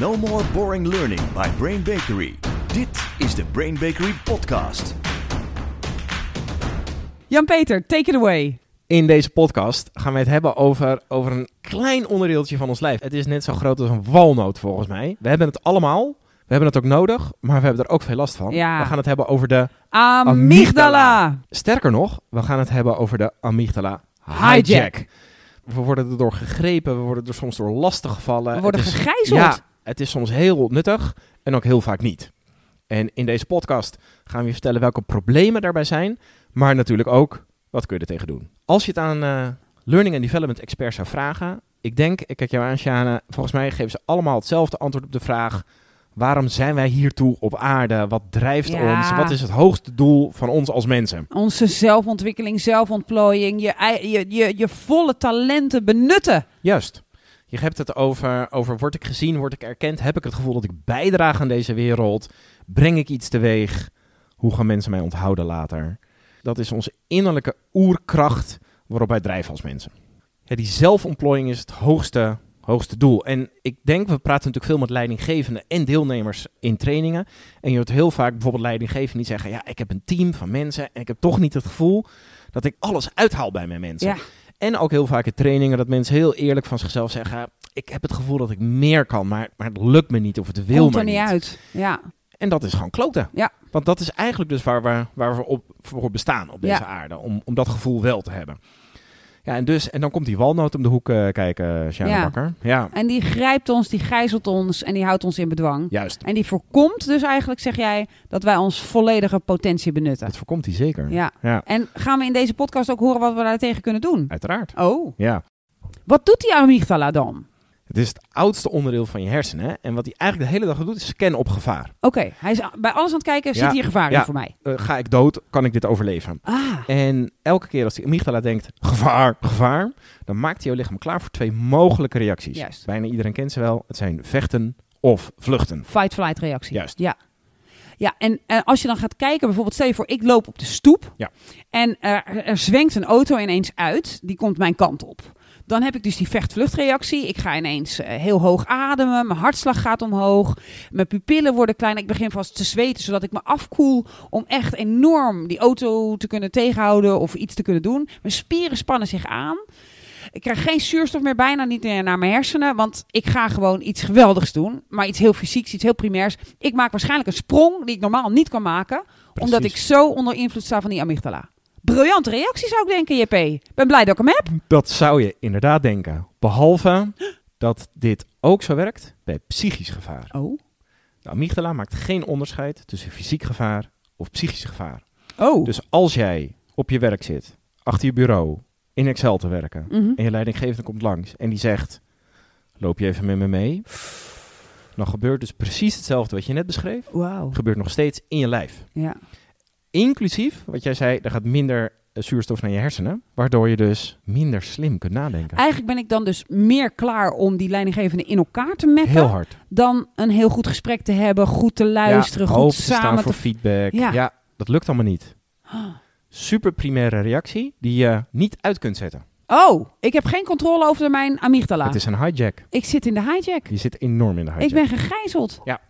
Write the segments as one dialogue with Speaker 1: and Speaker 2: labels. Speaker 1: No more boring learning by Brain Bakery. Dit is de Brain Bakery podcast.
Speaker 2: Jan-Peter, take it away.
Speaker 3: In deze podcast gaan we het hebben over, over een klein onderdeeltje van ons lijf. Het is net zo groot als een walnoot volgens mij. We hebben het allemaal. We hebben het ook nodig, maar we hebben er ook veel last van.
Speaker 2: Ja.
Speaker 3: We gaan het hebben over de...
Speaker 2: Amygdala.
Speaker 3: Sterker nog, we gaan het hebben over de amygdala
Speaker 2: Hijack.
Speaker 3: hijack. We worden erdoor gegrepen, we worden er soms door lastiggevallen.
Speaker 2: We worden
Speaker 3: Het is-
Speaker 2: gegijzeld.
Speaker 3: Ja, het is soms heel nuttig en ook heel vaak niet. En in deze podcast gaan we je vertellen welke problemen daarbij zijn, maar natuurlijk ook wat kun je er tegen doen. Als je het aan eh, learning and development experts zou vragen, ik denk, ik kijk jou aan Sjane, volgens mij geven ze allemaal hetzelfde antwoord op de vraag waarom zijn wij hiertoe op aarde? Wat drijft
Speaker 2: Ja.
Speaker 3: ons? Wat is het hoogste doel van ons als mensen?
Speaker 2: Onze zelfontwikkeling, zelfontplooiing, je, ei- je, je, je volle talenten benutten.
Speaker 3: Juist. Je hebt het over, over word ik gezien, word ik erkend, heb ik het gevoel dat ik bijdraag aan deze wereld, breng ik iets teweeg, hoe gaan mensen mij onthouden later? Dat is onze innerlijke oerkracht waarop wij drijven als mensen. Ja, die zelfontplooiing is het hoogste, hoogste doel. En ik denk, we praten natuurlijk veel met leidinggevenden en deelnemers in trainingen. En je hoort heel vaak bijvoorbeeld leidinggevenden die zeggen, ja, ik heb een team van mensen en ik heb toch niet het gevoel dat ik alles uithaal bij mijn mensen.
Speaker 2: Ja.
Speaker 3: En ook heel vaak in trainingen dat mensen heel eerlijk van zichzelf zeggen: Ik heb het gevoel dat ik meer kan, maar, maar het lukt me niet of het wil
Speaker 2: Komt
Speaker 3: me
Speaker 2: er niet uit. Ja.
Speaker 3: En dat is gewoon kloten.
Speaker 2: Ja.
Speaker 3: Want dat is eigenlijk dus waar we, waar we op, voor bestaan op deze
Speaker 2: Ja.
Speaker 3: aarde. Om, om dat gevoel wel te hebben. Ja, en, dus, en dan komt die walnoot om de hoek eh, kijken, Sjane
Speaker 2: Ja.
Speaker 3: Bakker. Ja,
Speaker 2: En die grijpt ons, die gijzelt ons en die houdt ons in bedwang.
Speaker 3: juist.
Speaker 2: En die voorkomt dus eigenlijk, zeg jij, dat wij ons volledige potentie benutten.
Speaker 3: Dat voorkomt hij zeker.
Speaker 2: Ja.
Speaker 3: ja
Speaker 2: En gaan we in deze podcast ook horen wat we daartegen kunnen doen?
Speaker 3: uiteraard.
Speaker 2: Oh,
Speaker 3: Ja.
Speaker 2: wat doet die amygdala dan? Oké,
Speaker 3: Het is het oudste onderdeel van je hersenen. hè. En wat hij eigenlijk de hele dag doet, is scannen op gevaar.
Speaker 2: hij is bij alles aan het kijken,
Speaker 3: Ja.
Speaker 2: zit hier gevaar in
Speaker 3: Ja.
Speaker 2: voor mij?
Speaker 3: Eh, ga ik dood? Kan ik dit overleven?
Speaker 2: Ah,
Speaker 3: En elke keer als die amygdala denkt, gevaar, gevaar, dan maakt jouw lichaam klaar voor twee mogelijke reacties.
Speaker 2: Juist.
Speaker 3: Bijna iedereen kent ze wel. Het zijn vechten of vluchten.
Speaker 2: fight-flight reactie.
Speaker 3: Juist.
Speaker 2: Ja. Ja, en, eh, als je dan gaat kijken, bijvoorbeeld stel je voor, ik loop op de stoep.
Speaker 3: Ja.
Speaker 2: En eh, er, er zwenkt een auto ineens uit, die komt mijn kant op. Dan heb ik dus die vechtvluchtreactie. Ik ga ineens eh, heel hoog ademen, mijn hartslag gaat omhoog, mijn pupillen worden kleiner. Ik begin vast te zweten, zodat ik me afkoel om echt enorm die auto te kunnen tegenhouden of iets te kunnen doen. Mijn spieren spannen zich aan. Ik krijg geen zuurstof meer, bijna niet meer naar mijn hersenen. Want ik ga gewoon iets geweldigs doen. Maar iets heel fysieks, iets heel primairs. Ik maak waarschijnlijk een sprong die ik normaal niet kan maken. Omdat ik
Speaker 3: Precies.
Speaker 2: zo onder invloed sta van die amygdala. Briljante reactie zou ik denken, JP. Ik Ben blij dat ik hem heb.
Speaker 3: Dat zou je inderdaad denken. Behalve dat dit ook zo werkt bij psychisch gevaar.
Speaker 2: Oh.
Speaker 3: De amygdala maakt geen onderscheid tussen fysiek gevaar of psychisch gevaar.
Speaker 2: Oh.
Speaker 3: Dus als jij op je werk zit, achter je bureau, in Excel te werken,
Speaker 2: Mhm.
Speaker 3: en je leidinggevende komt langs en die zegt: Loop je even met me mee? Dan gebeurt dus precies hetzelfde wat je net beschreef.
Speaker 2: Wauw.
Speaker 3: Gebeurt nog steeds in je lijf.
Speaker 2: Ja.
Speaker 3: Inclusief, wat jij zei, er gaat minder eh, zuurstof naar je hersenen. Waardoor je dus minder slim kunt nadenken.
Speaker 2: Eigenlijk ben ik dan dus meer klaar om die leidinggevende in elkaar te mekken.
Speaker 3: Heel hard.
Speaker 2: Dan een heel goed gesprek te hebben, goed te luisteren,
Speaker 3: Ja,
Speaker 2: goed
Speaker 3: open te staan
Speaker 2: samen
Speaker 3: voor
Speaker 2: te...
Speaker 3: feedback.
Speaker 2: Ja.
Speaker 3: Ja. dat lukt allemaal niet. Super primaire reactie die je niet uit kunt zetten.
Speaker 2: Oh, ik heb geen controle over mijn amygdala.
Speaker 3: Het is een hijack.
Speaker 2: Ik zit in de hijack.
Speaker 3: Je zit enorm in de hijack.
Speaker 2: Ik ben gegijzeld.
Speaker 3: Ja.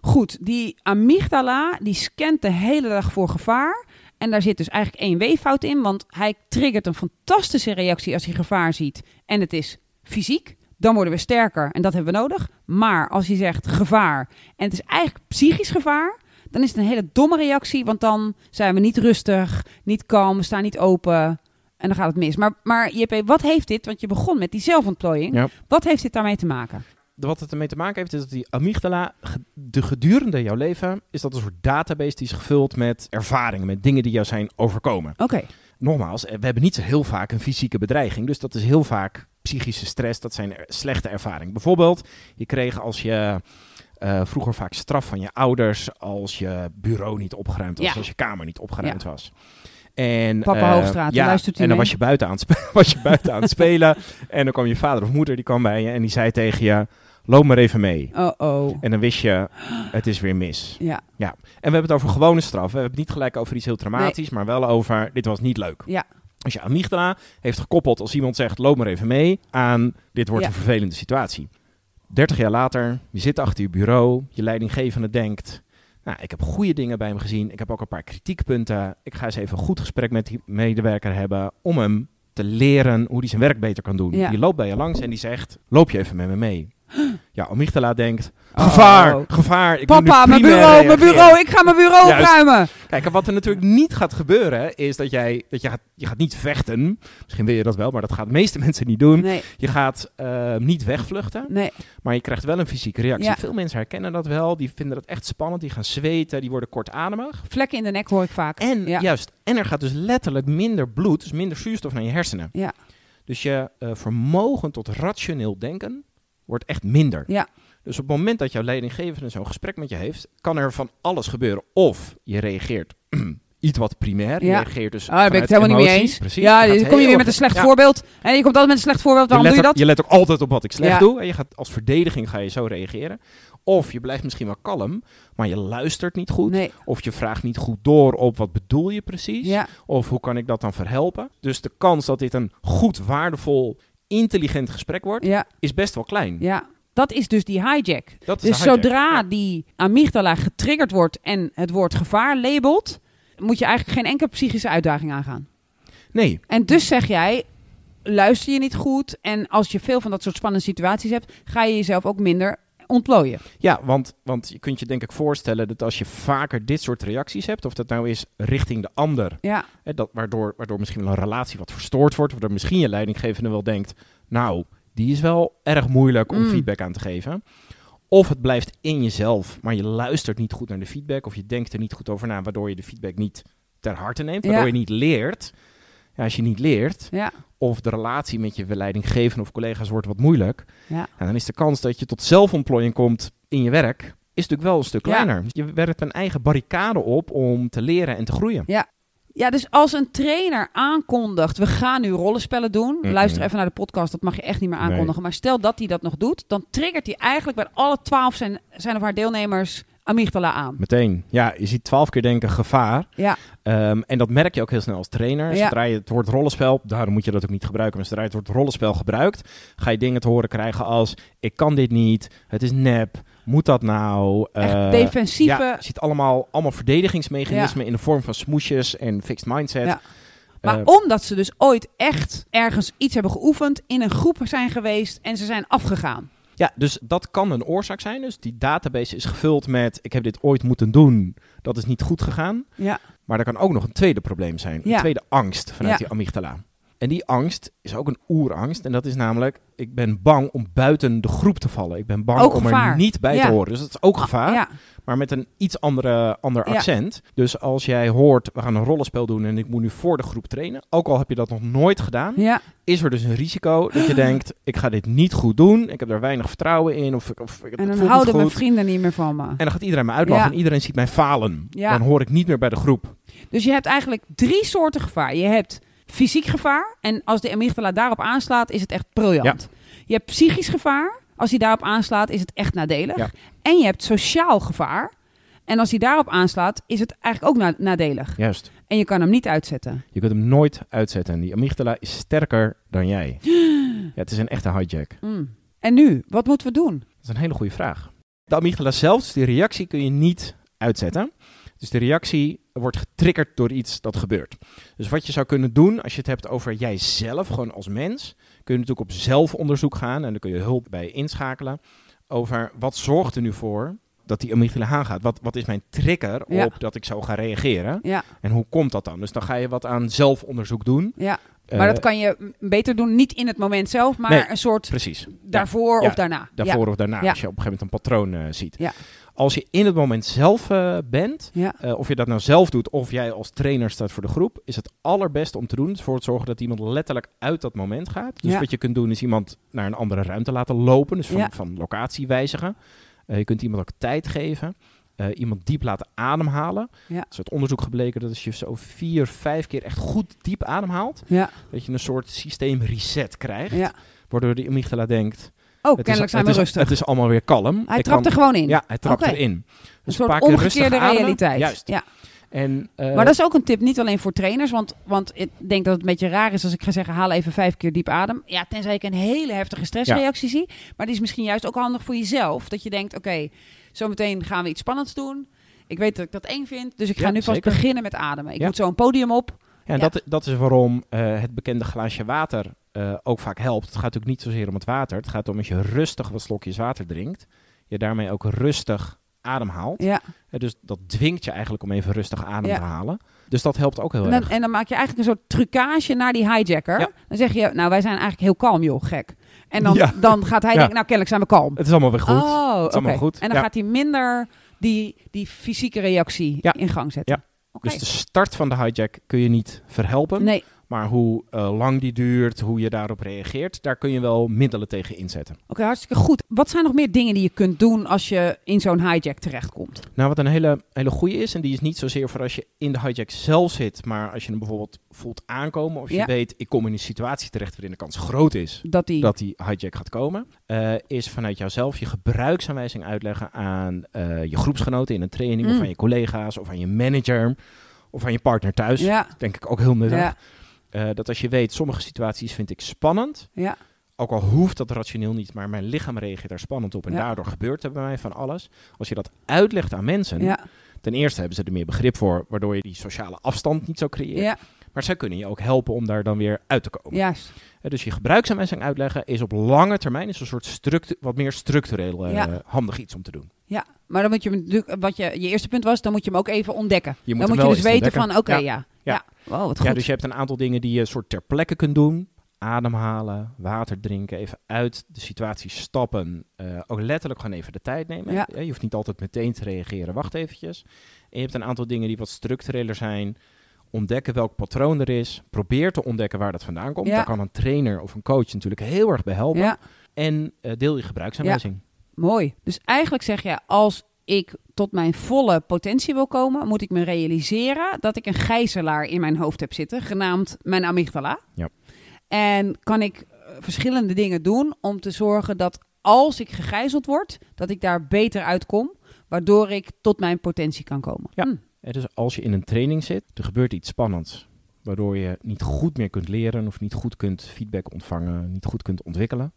Speaker 2: Goed, die amygdala die scant de hele dag voor gevaar. En daar zit dus eigenlijk één weeffout in, want hij triggert een fantastische reactie als hij gevaar ziet. En het is fysiek, dan worden we sterker en dat hebben we nodig. Maar als hij zegt gevaar en het is eigenlijk psychisch gevaar, dan is het een hele domme reactie, want dan zijn we niet rustig, niet kalm, we staan niet open en dan gaat het mis. Maar, maar JP, wat heeft dit, want je begon met die zelfontplooiing,
Speaker 3: Ja.
Speaker 2: wat heeft dit daarmee te maken?
Speaker 3: wat het ermee te maken heeft, is dat die amygdala ge- de gedurende jouw leven is dat een soort database die is gevuld met ervaringen, met dingen die jou zijn overkomen.
Speaker 2: Oké.
Speaker 3: Nogmaals, eh, we hebben niet zo heel vaak een fysieke bedreiging, dus dat is heel vaak psychische stress, dat zijn er- slechte ervaringen. Bijvoorbeeld, je kreeg als je eh, vroeger vaak straf van je ouders als je bureau niet opgeruimd was,
Speaker 2: Ja.
Speaker 3: als je kamer niet opgeruimd was. En,
Speaker 2: Papa
Speaker 3: eh,
Speaker 2: Hoogstraat,
Speaker 3: ja,
Speaker 2: luistert u
Speaker 3: En dan
Speaker 2: mee?
Speaker 3: was je, buiten aan het spe- was je buiten aan het spelen. En dan kwam je vader of moeder, die kwam bij je en die zei tegen je, loop maar even mee.
Speaker 2: Oh oh.
Speaker 3: En dan wist je, het is weer mis.
Speaker 2: Ja,
Speaker 3: En we hebben het over gewone straf. We hebben het niet gelijk over iets heel dramatisch, maar wel over, dit was niet leuk.
Speaker 2: Ja.
Speaker 3: Dus je amygdala heeft gekoppeld, als iemand zegt, loop maar even mee, aan, dit wordt
Speaker 2: Ja.
Speaker 3: een vervelende situatie. 30 jaar later, je zit achter je bureau, je leidinggevende denkt... Nou, ik heb goede dingen bij hem gezien. Ik heb ook een paar kritiekpunten. Ik ga eens even een goed gesprek met die medewerker hebben om hem te leren hoe hij zijn werk beter kan doen.
Speaker 2: Ja.
Speaker 3: Die loopt bij je langs en die zegt, loop je even met me mee. Ja, amygdala denkt, gevaar,
Speaker 2: Oh.
Speaker 3: gevaar. Ik moet nu
Speaker 2: Papa, mijn
Speaker 3: primair
Speaker 2: bureau, mijn
Speaker 3: reageren.
Speaker 2: bureau, ik ga mijn bureau
Speaker 3: Juist.
Speaker 2: opruimen.
Speaker 3: Kijk, en wat er natuurlijk niet gaat gebeuren, is dat jij, dat je gaat, je gaat niet vechten. Misschien wil je dat wel, maar dat gaan de meeste mensen niet doen.
Speaker 2: Nee,
Speaker 3: Je gaat eh, niet wegvluchten,
Speaker 2: nee.
Speaker 3: maar je krijgt wel een fysieke reactie.
Speaker 2: Ja.
Speaker 3: Veel mensen herkennen dat wel, die vinden dat echt spannend, die gaan zweten, die worden kortademig.
Speaker 2: Vlekken in de nek hoor ik vaak.
Speaker 3: En
Speaker 2: ja.
Speaker 3: juist, en er gaat dus letterlijk minder bloed, dus minder zuurstof naar je hersenen.
Speaker 2: Ja.
Speaker 3: Dus je eh, vermogen tot rationeel denken wordt echt minder.
Speaker 2: Ja.
Speaker 3: Dus op het moment dat jouw leidinggevende zo'n gesprek met je heeft, kan er van alles gebeuren. Of je reageert iets wat primair, je
Speaker 2: Ja.
Speaker 3: reageert dus
Speaker 2: Ah, daar ben ik
Speaker 3: vanuit
Speaker 2: het helemaal niet mee
Speaker 3: emotie.
Speaker 2: eens.
Speaker 3: Precies.
Speaker 2: ja,
Speaker 3: gaat
Speaker 2: dan kom je
Speaker 3: heel
Speaker 2: weer
Speaker 3: erg-
Speaker 2: met een slecht
Speaker 3: Ja,
Speaker 2: voorbeeld. En je komt altijd met een slecht voorbeeld. Waarom
Speaker 3: je
Speaker 2: doe je
Speaker 3: let ook-
Speaker 2: dat?
Speaker 3: Je let ook altijd op wat ik slecht
Speaker 2: Ja.
Speaker 3: doe. En je gaat als verdediging ga je zo reageren. Of je blijft misschien wel kalm, maar je luistert niet goed.
Speaker 2: Nee.
Speaker 3: Of je vraagt niet goed door op wat bedoel je precies.
Speaker 2: Ja,
Speaker 3: Of hoe kan ik dat dan verhelpen? Dus de kans dat dit een goed, waardevol, intelligent gesprek wordt,
Speaker 2: ja,
Speaker 3: is best wel klein.
Speaker 2: ja. Dat is dus die hijack.
Speaker 3: Dat is
Speaker 2: Dus
Speaker 3: de hijack.
Speaker 2: zodra
Speaker 3: Ja.
Speaker 2: die amygdala getriggerd wordt en het woord gevaar labelt, moet je eigenlijk geen enkele psychische uitdaging aangaan.
Speaker 3: Nee,
Speaker 2: En dus zeg jij, luister je niet goed en als je veel van dat soort spannende situaties hebt, ga je jezelf ook minder ontplooien.
Speaker 3: ja, want, want je kunt je denk ik voorstellen dat als je vaker dit soort reacties hebt, of dat nou is richting de ander,
Speaker 2: Ja,
Speaker 3: hè, dat, waardoor, waardoor misschien wel een relatie wat verstoord wordt, waardoor misschien je leidinggevende wel denkt, nou, die is wel erg moeilijk om
Speaker 2: Mm.
Speaker 3: feedback aan te geven. Of het blijft in jezelf, maar je luistert niet goed naar de feedback, of je denkt er niet goed over na, waardoor je de feedback niet ter harte neemt, waardoor
Speaker 2: Ja.
Speaker 3: je niet leert. Ja, als je niet leert,
Speaker 2: ja,
Speaker 3: of de relatie met je leidinggevende of collega's wordt wat moeilijk,
Speaker 2: Ja.
Speaker 3: En dan is de kans dat je tot zelfontplooiing komt in je werk, is natuurlijk wel een stuk
Speaker 2: Ja.
Speaker 3: kleiner. Je werpt een eigen barricade op om te leren en te groeien.
Speaker 2: ja. Ja, dus als een trainer aankondigt, we gaan nu rollenspellen doen.
Speaker 3: Mm-mm.
Speaker 2: Luister even naar de podcast, dat mag je echt niet meer aankondigen. Maar stel dat hij dat nog doet, dan triggert hij eigenlijk bij alle twaalf zijn, zijn of haar deelnemers amygdala aan.
Speaker 3: Meteen. Ja, je ziet twaalf keer denken gevaar.
Speaker 2: Ja,
Speaker 3: Ehm, en dat merk je ook heel snel als trainer.
Speaker 2: Ja.
Speaker 3: Zodra je het woord rollenspel, daarom moet je dat ook niet gebruiken, maar zodra je het woord rollenspel gebruikt, ga je dingen te horen krijgen als ik kan dit niet, het is nep, moet dat nou?
Speaker 2: echt
Speaker 3: Eh,
Speaker 2: defensieve,
Speaker 3: Ja, je ziet allemaal, allemaal verdedigingsmechanismen in de vorm van smoesjes en fixed mindset.
Speaker 2: Ja. Maar
Speaker 3: Eh,
Speaker 2: omdat ze dus ooit echt ergens iets hebben geoefend, in een groep zijn geweest en ze zijn afgegaan.
Speaker 3: Ja, dus dat kan een oorzaak zijn. Dus die database is gevuld met: ik heb dit ooit moeten doen, dat is niet goed gegaan.
Speaker 2: Ja,
Speaker 3: Maar er kan ook nog een tweede probleem zijn:
Speaker 2: Ja.
Speaker 3: een tweede angst vanuit
Speaker 2: Ja.
Speaker 3: die amygdala. En die angst is ook een oerangst. En dat is namelijk: ik ben bang om buiten de groep te vallen. Ik ben bang
Speaker 2: Ook
Speaker 3: om
Speaker 2: gevaar.
Speaker 3: er niet bij
Speaker 2: Ja. Ah,
Speaker 3: te horen. Dus dat is ook gevaar,
Speaker 2: Ja,
Speaker 3: maar met een iets andere, ander
Speaker 2: Ja.
Speaker 3: accent. Dus als jij hoort: we gaan een rollenspel doen en ik moet nu voor de groep trainen, ook al heb je dat nog nooit gedaan,
Speaker 2: ja,
Speaker 3: is er dus een risico dat je denkt: ik ga dit niet goed doen, ik heb daar weinig vertrouwen in, of, ik- of ik- het
Speaker 2: en dan
Speaker 3: voelt niet
Speaker 2: houden mijn
Speaker 3: goed.
Speaker 2: vrienden niet meer van me.
Speaker 3: En dan gaat iedereen me uitlachen
Speaker 2: Ja.
Speaker 3: en iedereen ziet mij falen.
Speaker 2: Ja.
Speaker 3: Dan hoor ik niet meer bij de groep.
Speaker 2: Dus je hebt eigenlijk drie soorten gevaar. Je hebt fysiek gevaar en als de amygdala daarop aanslaat, is het echt briljant. Je hebt psychisch gevaar, als die daarop aanslaat, is het echt nadelig.
Speaker 3: Ja.
Speaker 2: En je hebt sociaal gevaar en als die daarop aanslaat, is het eigenlijk ook na- nadelig.
Speaker 3: Juist.
Speaker 2: En je kan hem niet uitzetten.
Speaker 3: Je kunt hem nooit uitzetten. Die amygdala is sterker dan jij. ja, het is een echte hijack.
Speaker 2: Mm. En nu, wat moeten we doen?
Speaker 3: Dat is een hele goede vraag. De amygdala zelf, dus die reactie kun je niet uitzetten. Dus de reactie wordt getriggerd door iets dat gebeurt. Dus wat je zou kunnen doen als je het hebt over jijzelf, gewoon als mens, kun je natuurlijk op zelfonderzoek gaan en dan kun je hulp bij inschakelen over wat zorgt er nu voor dat die amygdala aangaat. Wat, wat is mijn trigger
Speaker 2: Ja.
Speaker 3: op dat ik zo ga reageren?
Speaker 2: Ja.
Speaker 3: En hoe komt dat dan? Dus dan ga je wat aan zelfonderzoek doen.
Speaker 2: Ja. Maar
Speaker 3: Eh,
Speaker 2: dat kan je m- beter doen, niet in het moment zelf, maar
Speaker 3: Nee.
Speaker 2: een soort
Speaker 3: Precies.
Speaker 2: daarvoor
Speaker 3: Ja,
Speaker 2: of daarna.
Speaker 3: daarvoor of daarna,
Speaker 2: Ja.
Speaker 3: als je op een gegeven moment een patroon eh, ziet.
Speaker 2: Ja.
Speaker 3: Als je in het moment zelf eh, bent,
Speaker 2: Ja.
Speaker 3: eh, of je dat nou zelf doet of jij als trainer staat voor de groep, is het allerbeste om te doen, is voor te zorgen dat iemand letterlijk uit dat moment gaat. Dus
Speaker 2: Ja.
Speaker 3: wat je kunt doen is iemand naar een andere ruimte laten lopen, dus van,
Speaker 2: Ja.
Speaker 3: van locatie wijzigen. Eh, je kunt iemand ook tijd geven. eh, iemand diep laten ademhalen.
Speaker 2: Ja.
Speaker 3: Het is uit onderzoek gebleken dat als je zo vier, vijf keer echt goed diep ademhaalt,
Speaker 2: Ja.
Speaker 3: dat je een soort systeem reset krijgt.
Speaker 2: ja. ja.
Speaker 3: Waardoor de amygdala denkt,
Speaker 2: Oh,
Speaker 3: het
Speaker 2: kennelijk
Speaker 3: is,
Speaker 2: zijn
Speaker 3: het
Speaker 2: we
Speaker 3: is-
Speaker 2: rustig.
Speaker 3: Het is allemaal weer kalm.
Speaker 2: Hij
Speaker 3: Ik
Speaker 2: trapt
Speaker 3: kan-
Speaker 2: er gewoon in.
Speaker 3: Ja, hij trapt
Speaker 2: Oké.
Speaker 3: erin. Dus
Speaker 2: een soort
Speaker 3: paar keer rustig
Speaker 2: omgekeerde
Speaker 3: ademen.
Speaker 2: realiteit.
Speaker 3: Juist.
Speaker 2: Ja.
Speaker 3: En, eh,
Speaker 2: Maar dat is ook een tip, niet alleen voor trainers. Want, want ik denk dat het een beetje raar is als ik ga zeggen: haal even vijf keer diep adem. Ja, tenzij ik een hele heftige stressreactie zie. Maar die is misschien juist ook handig voor jezelf. Dat je denkt: oké, zometeen gaan we iets spannends doen. Ik weet dat ik dat eng vind, dus ik ga
Speaker 3: Ja,
Speaker 2: nu vast
Speaker 3: zeker.
Speaker 2: beginnen met ademen. Ik
Speaker 3: Ja.
Speaker 2: moet zo een podium op.
Speaker 3: ja, en
Speaker 2: ja.
Speaker 3: Dat, dat is waarom eh, het bekende glaasje water eh, ook vaak helpt. Het gaat natuurlijk niet zozeer om het water. Het gaat om als je rustig wat slokjes water drinkt. Je daarmee ook rustig ademhaalt.
Speaker 2: Ja.
Speaker 3: Eh, dus dat dwingt je eigenlijk om even rustig adem
Speaker 2: Ja.
Speaker 3: te halen. Dus dat helpt ook heel
Speaker 2: En
Speaker 3: erg.
Speaker 2: dan, en dan maak je eigenlijk een soort trucage naar die hijacker.
Speaker 3: Ja.
Speaker 2: Dan zeg je: nou, wij zijn eigenlijk heel kalm, joh, gek. En dan,
Speaker 3: Ja.
Speaker 2: dan gaat hij
Speaker 3: Ja.
Speaker 2: denken: nou, kennelijk zijn we kalm.
Speaker 3: Het is allemaal weer goed.
Speaker 2: Oh, oké.
Speaker 3: allemaal goed.
Speaker 2: En dan
Speaker 3: Ja.
Speaker 2: gaat hij minder die, die fysieke reactie
Speaker 3: Ja.
Speaker 2: in gang zetten.
Speaker 3: Ja.
Speaker 2: Oké.
Speaker 3: Dus de start van de hijack kun je niet verhelpen.
Speaker 2: Nee, oké,
Speaker 3: Maar hoe eh, lang die duurt, hoe je daarop reageert, daar kun je wel middelen tegen inzetten.
Speaker 2: hartstikke goed. Wat zijn nog meer dingen die je kunt doen als je in zo'n hijack terechtkomt?
Speaker 3: Nou, wat een hele, hele goede is, en die is niet zozeer voor als je in de hijack zelf zit, maar als je hem bijvoorbeeld voelt aankomen of
Speaker 2: Ja.
Speaker 3: je weet, ik kom in een situatie terecht waarin de kans groot is
Speaker 2: Dat die...
Speaker 3: dat die hijack gaat komen, eh, is vanuit jouzelf je gebruiksaanwijzing uitleggen aan eh, je groepsgenoten in een training
Speaker 2: Mm.
Speaker 3: of aan je collega's of aan je manager of aan je partner thuis.
Speaker 2: ja,
Speaker 3: Denk ik ook heel nuttig.
Speaker 2: ja,
Speaker 3: Eh, dat als je weet, sommige situaties vind ik spannend.
Speaker 2: ja,
Speaker 3: Ook al hoeft dat rationeel niet, maar mijn lichaam reageert daar spannend op. En
Speaker 2: Ja.
Speaker 3: daardoor gebeurt er bij mij van alles. Als je dat uitlegt aan mensen,
Speaker 2: ja,
Speaker 3: ten eerste hebben ze er meer begrip voor, waardoor je die sociale afstand niet zou creëren.
Speaker 2: ja,
Speaker 3: Maar zij kunnen je ook helpen om daar dan weer uit te komen.
Speaker 2: juist.
Speaker 3: Eh, Dus je gebruiksaanwijzing uitleggen is op lange termijn is een soort structu- wat meer structureel eh,
Speaker 2: Ja.
Speaker 3: handig iets om te doen.
Speaker 2: Ja, maar dan moet je hem natuurlijk, wat je, je eerste punt was, dan moet je hem ook even ontdekken.
Speaker 3: Je
Speaker 2: dan
Speaker 3: hem
Speaker 2: moet
Speaker 3: wel
Speaker 2: je dus
Speaker 3: eens
Speaker 2: weten
Speaker 3: ontdekken.
Speaker 2: van, oké, ja.
Speaker 3: ja.
Speaker 2: ja.
Speaker 3: Ja.
Speaker 2: Wow, wat goed.
Speaker 3: Ja, dus je hebt een aantal dingen die je soort ter plekke kunt doen. Ademhalen, water drinken, even uit de situatie stappen. Eh, ook letterlijk gewoon even de tijd nemen.
Speaker 2: Ja.
Speaker 3: Eh, Je hoeft niet altijd meteen te reageren, wacht eventjes. En je hebt een aantal dingen die wat structureler zijn. Ontdekken welk patroon er is. Probeer te ontdekken waar dat vandaan komt.
Speaker 2: Ja.
Speaker 3: Daar kan een trainer of een coach natuurlijk heel erg bij helpen.
Speaker 2: ja,
Speaker 3: En eh, deel je gebruiksaanwijzing.
Speaker 2: mooi. Dus eigenlijk zeg je, als ik tot mijn volle potentie wil komen, moet ik me realiseren dat ik een gijzelaar in mijn hoofd heb zitten, genaamd mijn amygdala.
Speaker 3: Ja.
Speaker 2: En kan ik eh, verschillende dingen doen om te zorgen dat als ik gegijzeld word, dat ik daar beter uitkom, waardoor ik tot mijn potentie kan komen.
Speaker 3: Ja.
Speaker 2: Hm,
Speaker 3: Eh, dus als je in een training zit, er gebeurt iets spannends. Waardoor je niet goed meer kunt leren of niet goed kunt feedback ontvangen, niet goed kunt ontwikkelen.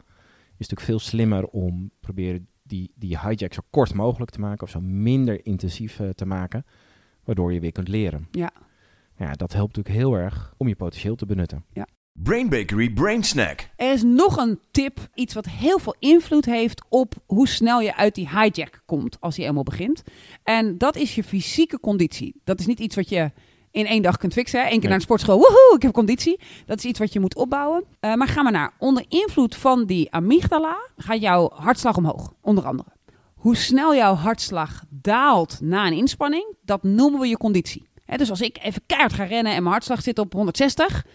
Speaker 3: Is natuurlijk veel slimmer om proberen die, die hijack zo kort mogelijk te maken of zo minder intensief eh, te maken. Waardoor je weer kunt leren.
Speaker 2: Ja.
Speaker 3: Ja, dat helpt natuurlijk heel erg om je potentieel te benutten.
Speaker 1: Brain Bakery Brain Snack.
Speaker 2: Er is nog een tip, iets wat heel veel invloed heeft op hoe snel je uit die hijack komt als die eenmaal begint. En dat is je fysieke conditie. Dat is niet iets wat je in één dag kunt fixen. Hè? Eén keer
Speaker 3: Nee.
Speaker 2: naar de sportschool, woehoe, ik heb conditie. Dat is iets wat je moet opbouwen. Eh, maar ga maar naar. Onder invloed van die amygdala gaat jouw hartslag omhoog, onder andere. Hoe snel jouw hartslag daalt na een inspanning, dat noemen we je conditie. Hè, dus als ik even keihard ga rennen en mijn hartslag zit op 160,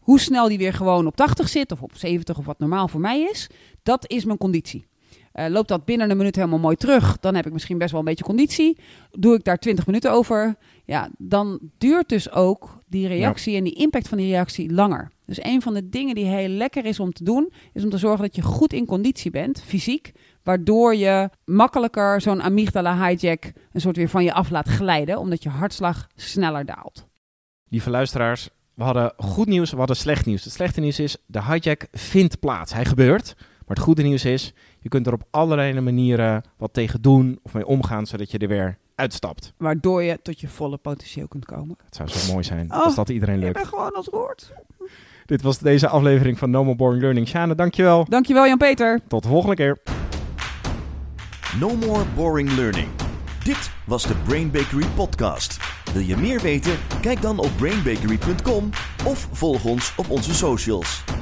Speaker 2: hoe snel die weer gewoon op 80 zit of op 70 of wat normaal voor mij is, dat is mijn conditie. Eh, loopt dat binnen een minuut helemaal mooi terug, dan heb ik misschien best wel een beetje conditie. Doe ik daar 20 minuten over, ja, dan duurt dus ook die reactie en die impact van die reactie langer. Dus een van de dingen die heel lekker is om te doen, is om te zorgen dat je goed in conditie bent, fysiek, waardoor je makkelijker zo'n amygdala hijack een soort weer van je af laat glijden, omdat je hartslag sneller daalt.
Speaker 3: Lieve luisteraars, we hadden goed nieuws, we hadden slecht nieuws. Het slechte nieuws is, de hijack vindt plaats. Hij gebeurt. Maar het goede nieuws is, je kunt er op allerlei manieren wat tegen doen of mee omgaan, zodat je er weer uitstapt.
Speaker 2: Waardoor je tot je volle potentieel kunt komen.
Speaker 3: Het zou zo mooi zijn
Speaker 2: Oh,
Speaker 3: als dat iedereen
Speaker 2: Ik
Speaker 3: lukt.
Speaker 2: ben gewoon als woord.
Speaker 3: Dit was deze aflevering van No More Boring Learning. Sjane, dankjewel.
Speaker 2: Dankjewel Jan-Peter.
Speaker 3: Tot de volgende keer.
Speaker 1: No more boring learning. Dit was de Brain Bakery podcast. Wil je meer weten? Kijk dan op brainbakery.com of volg ons op onze socials.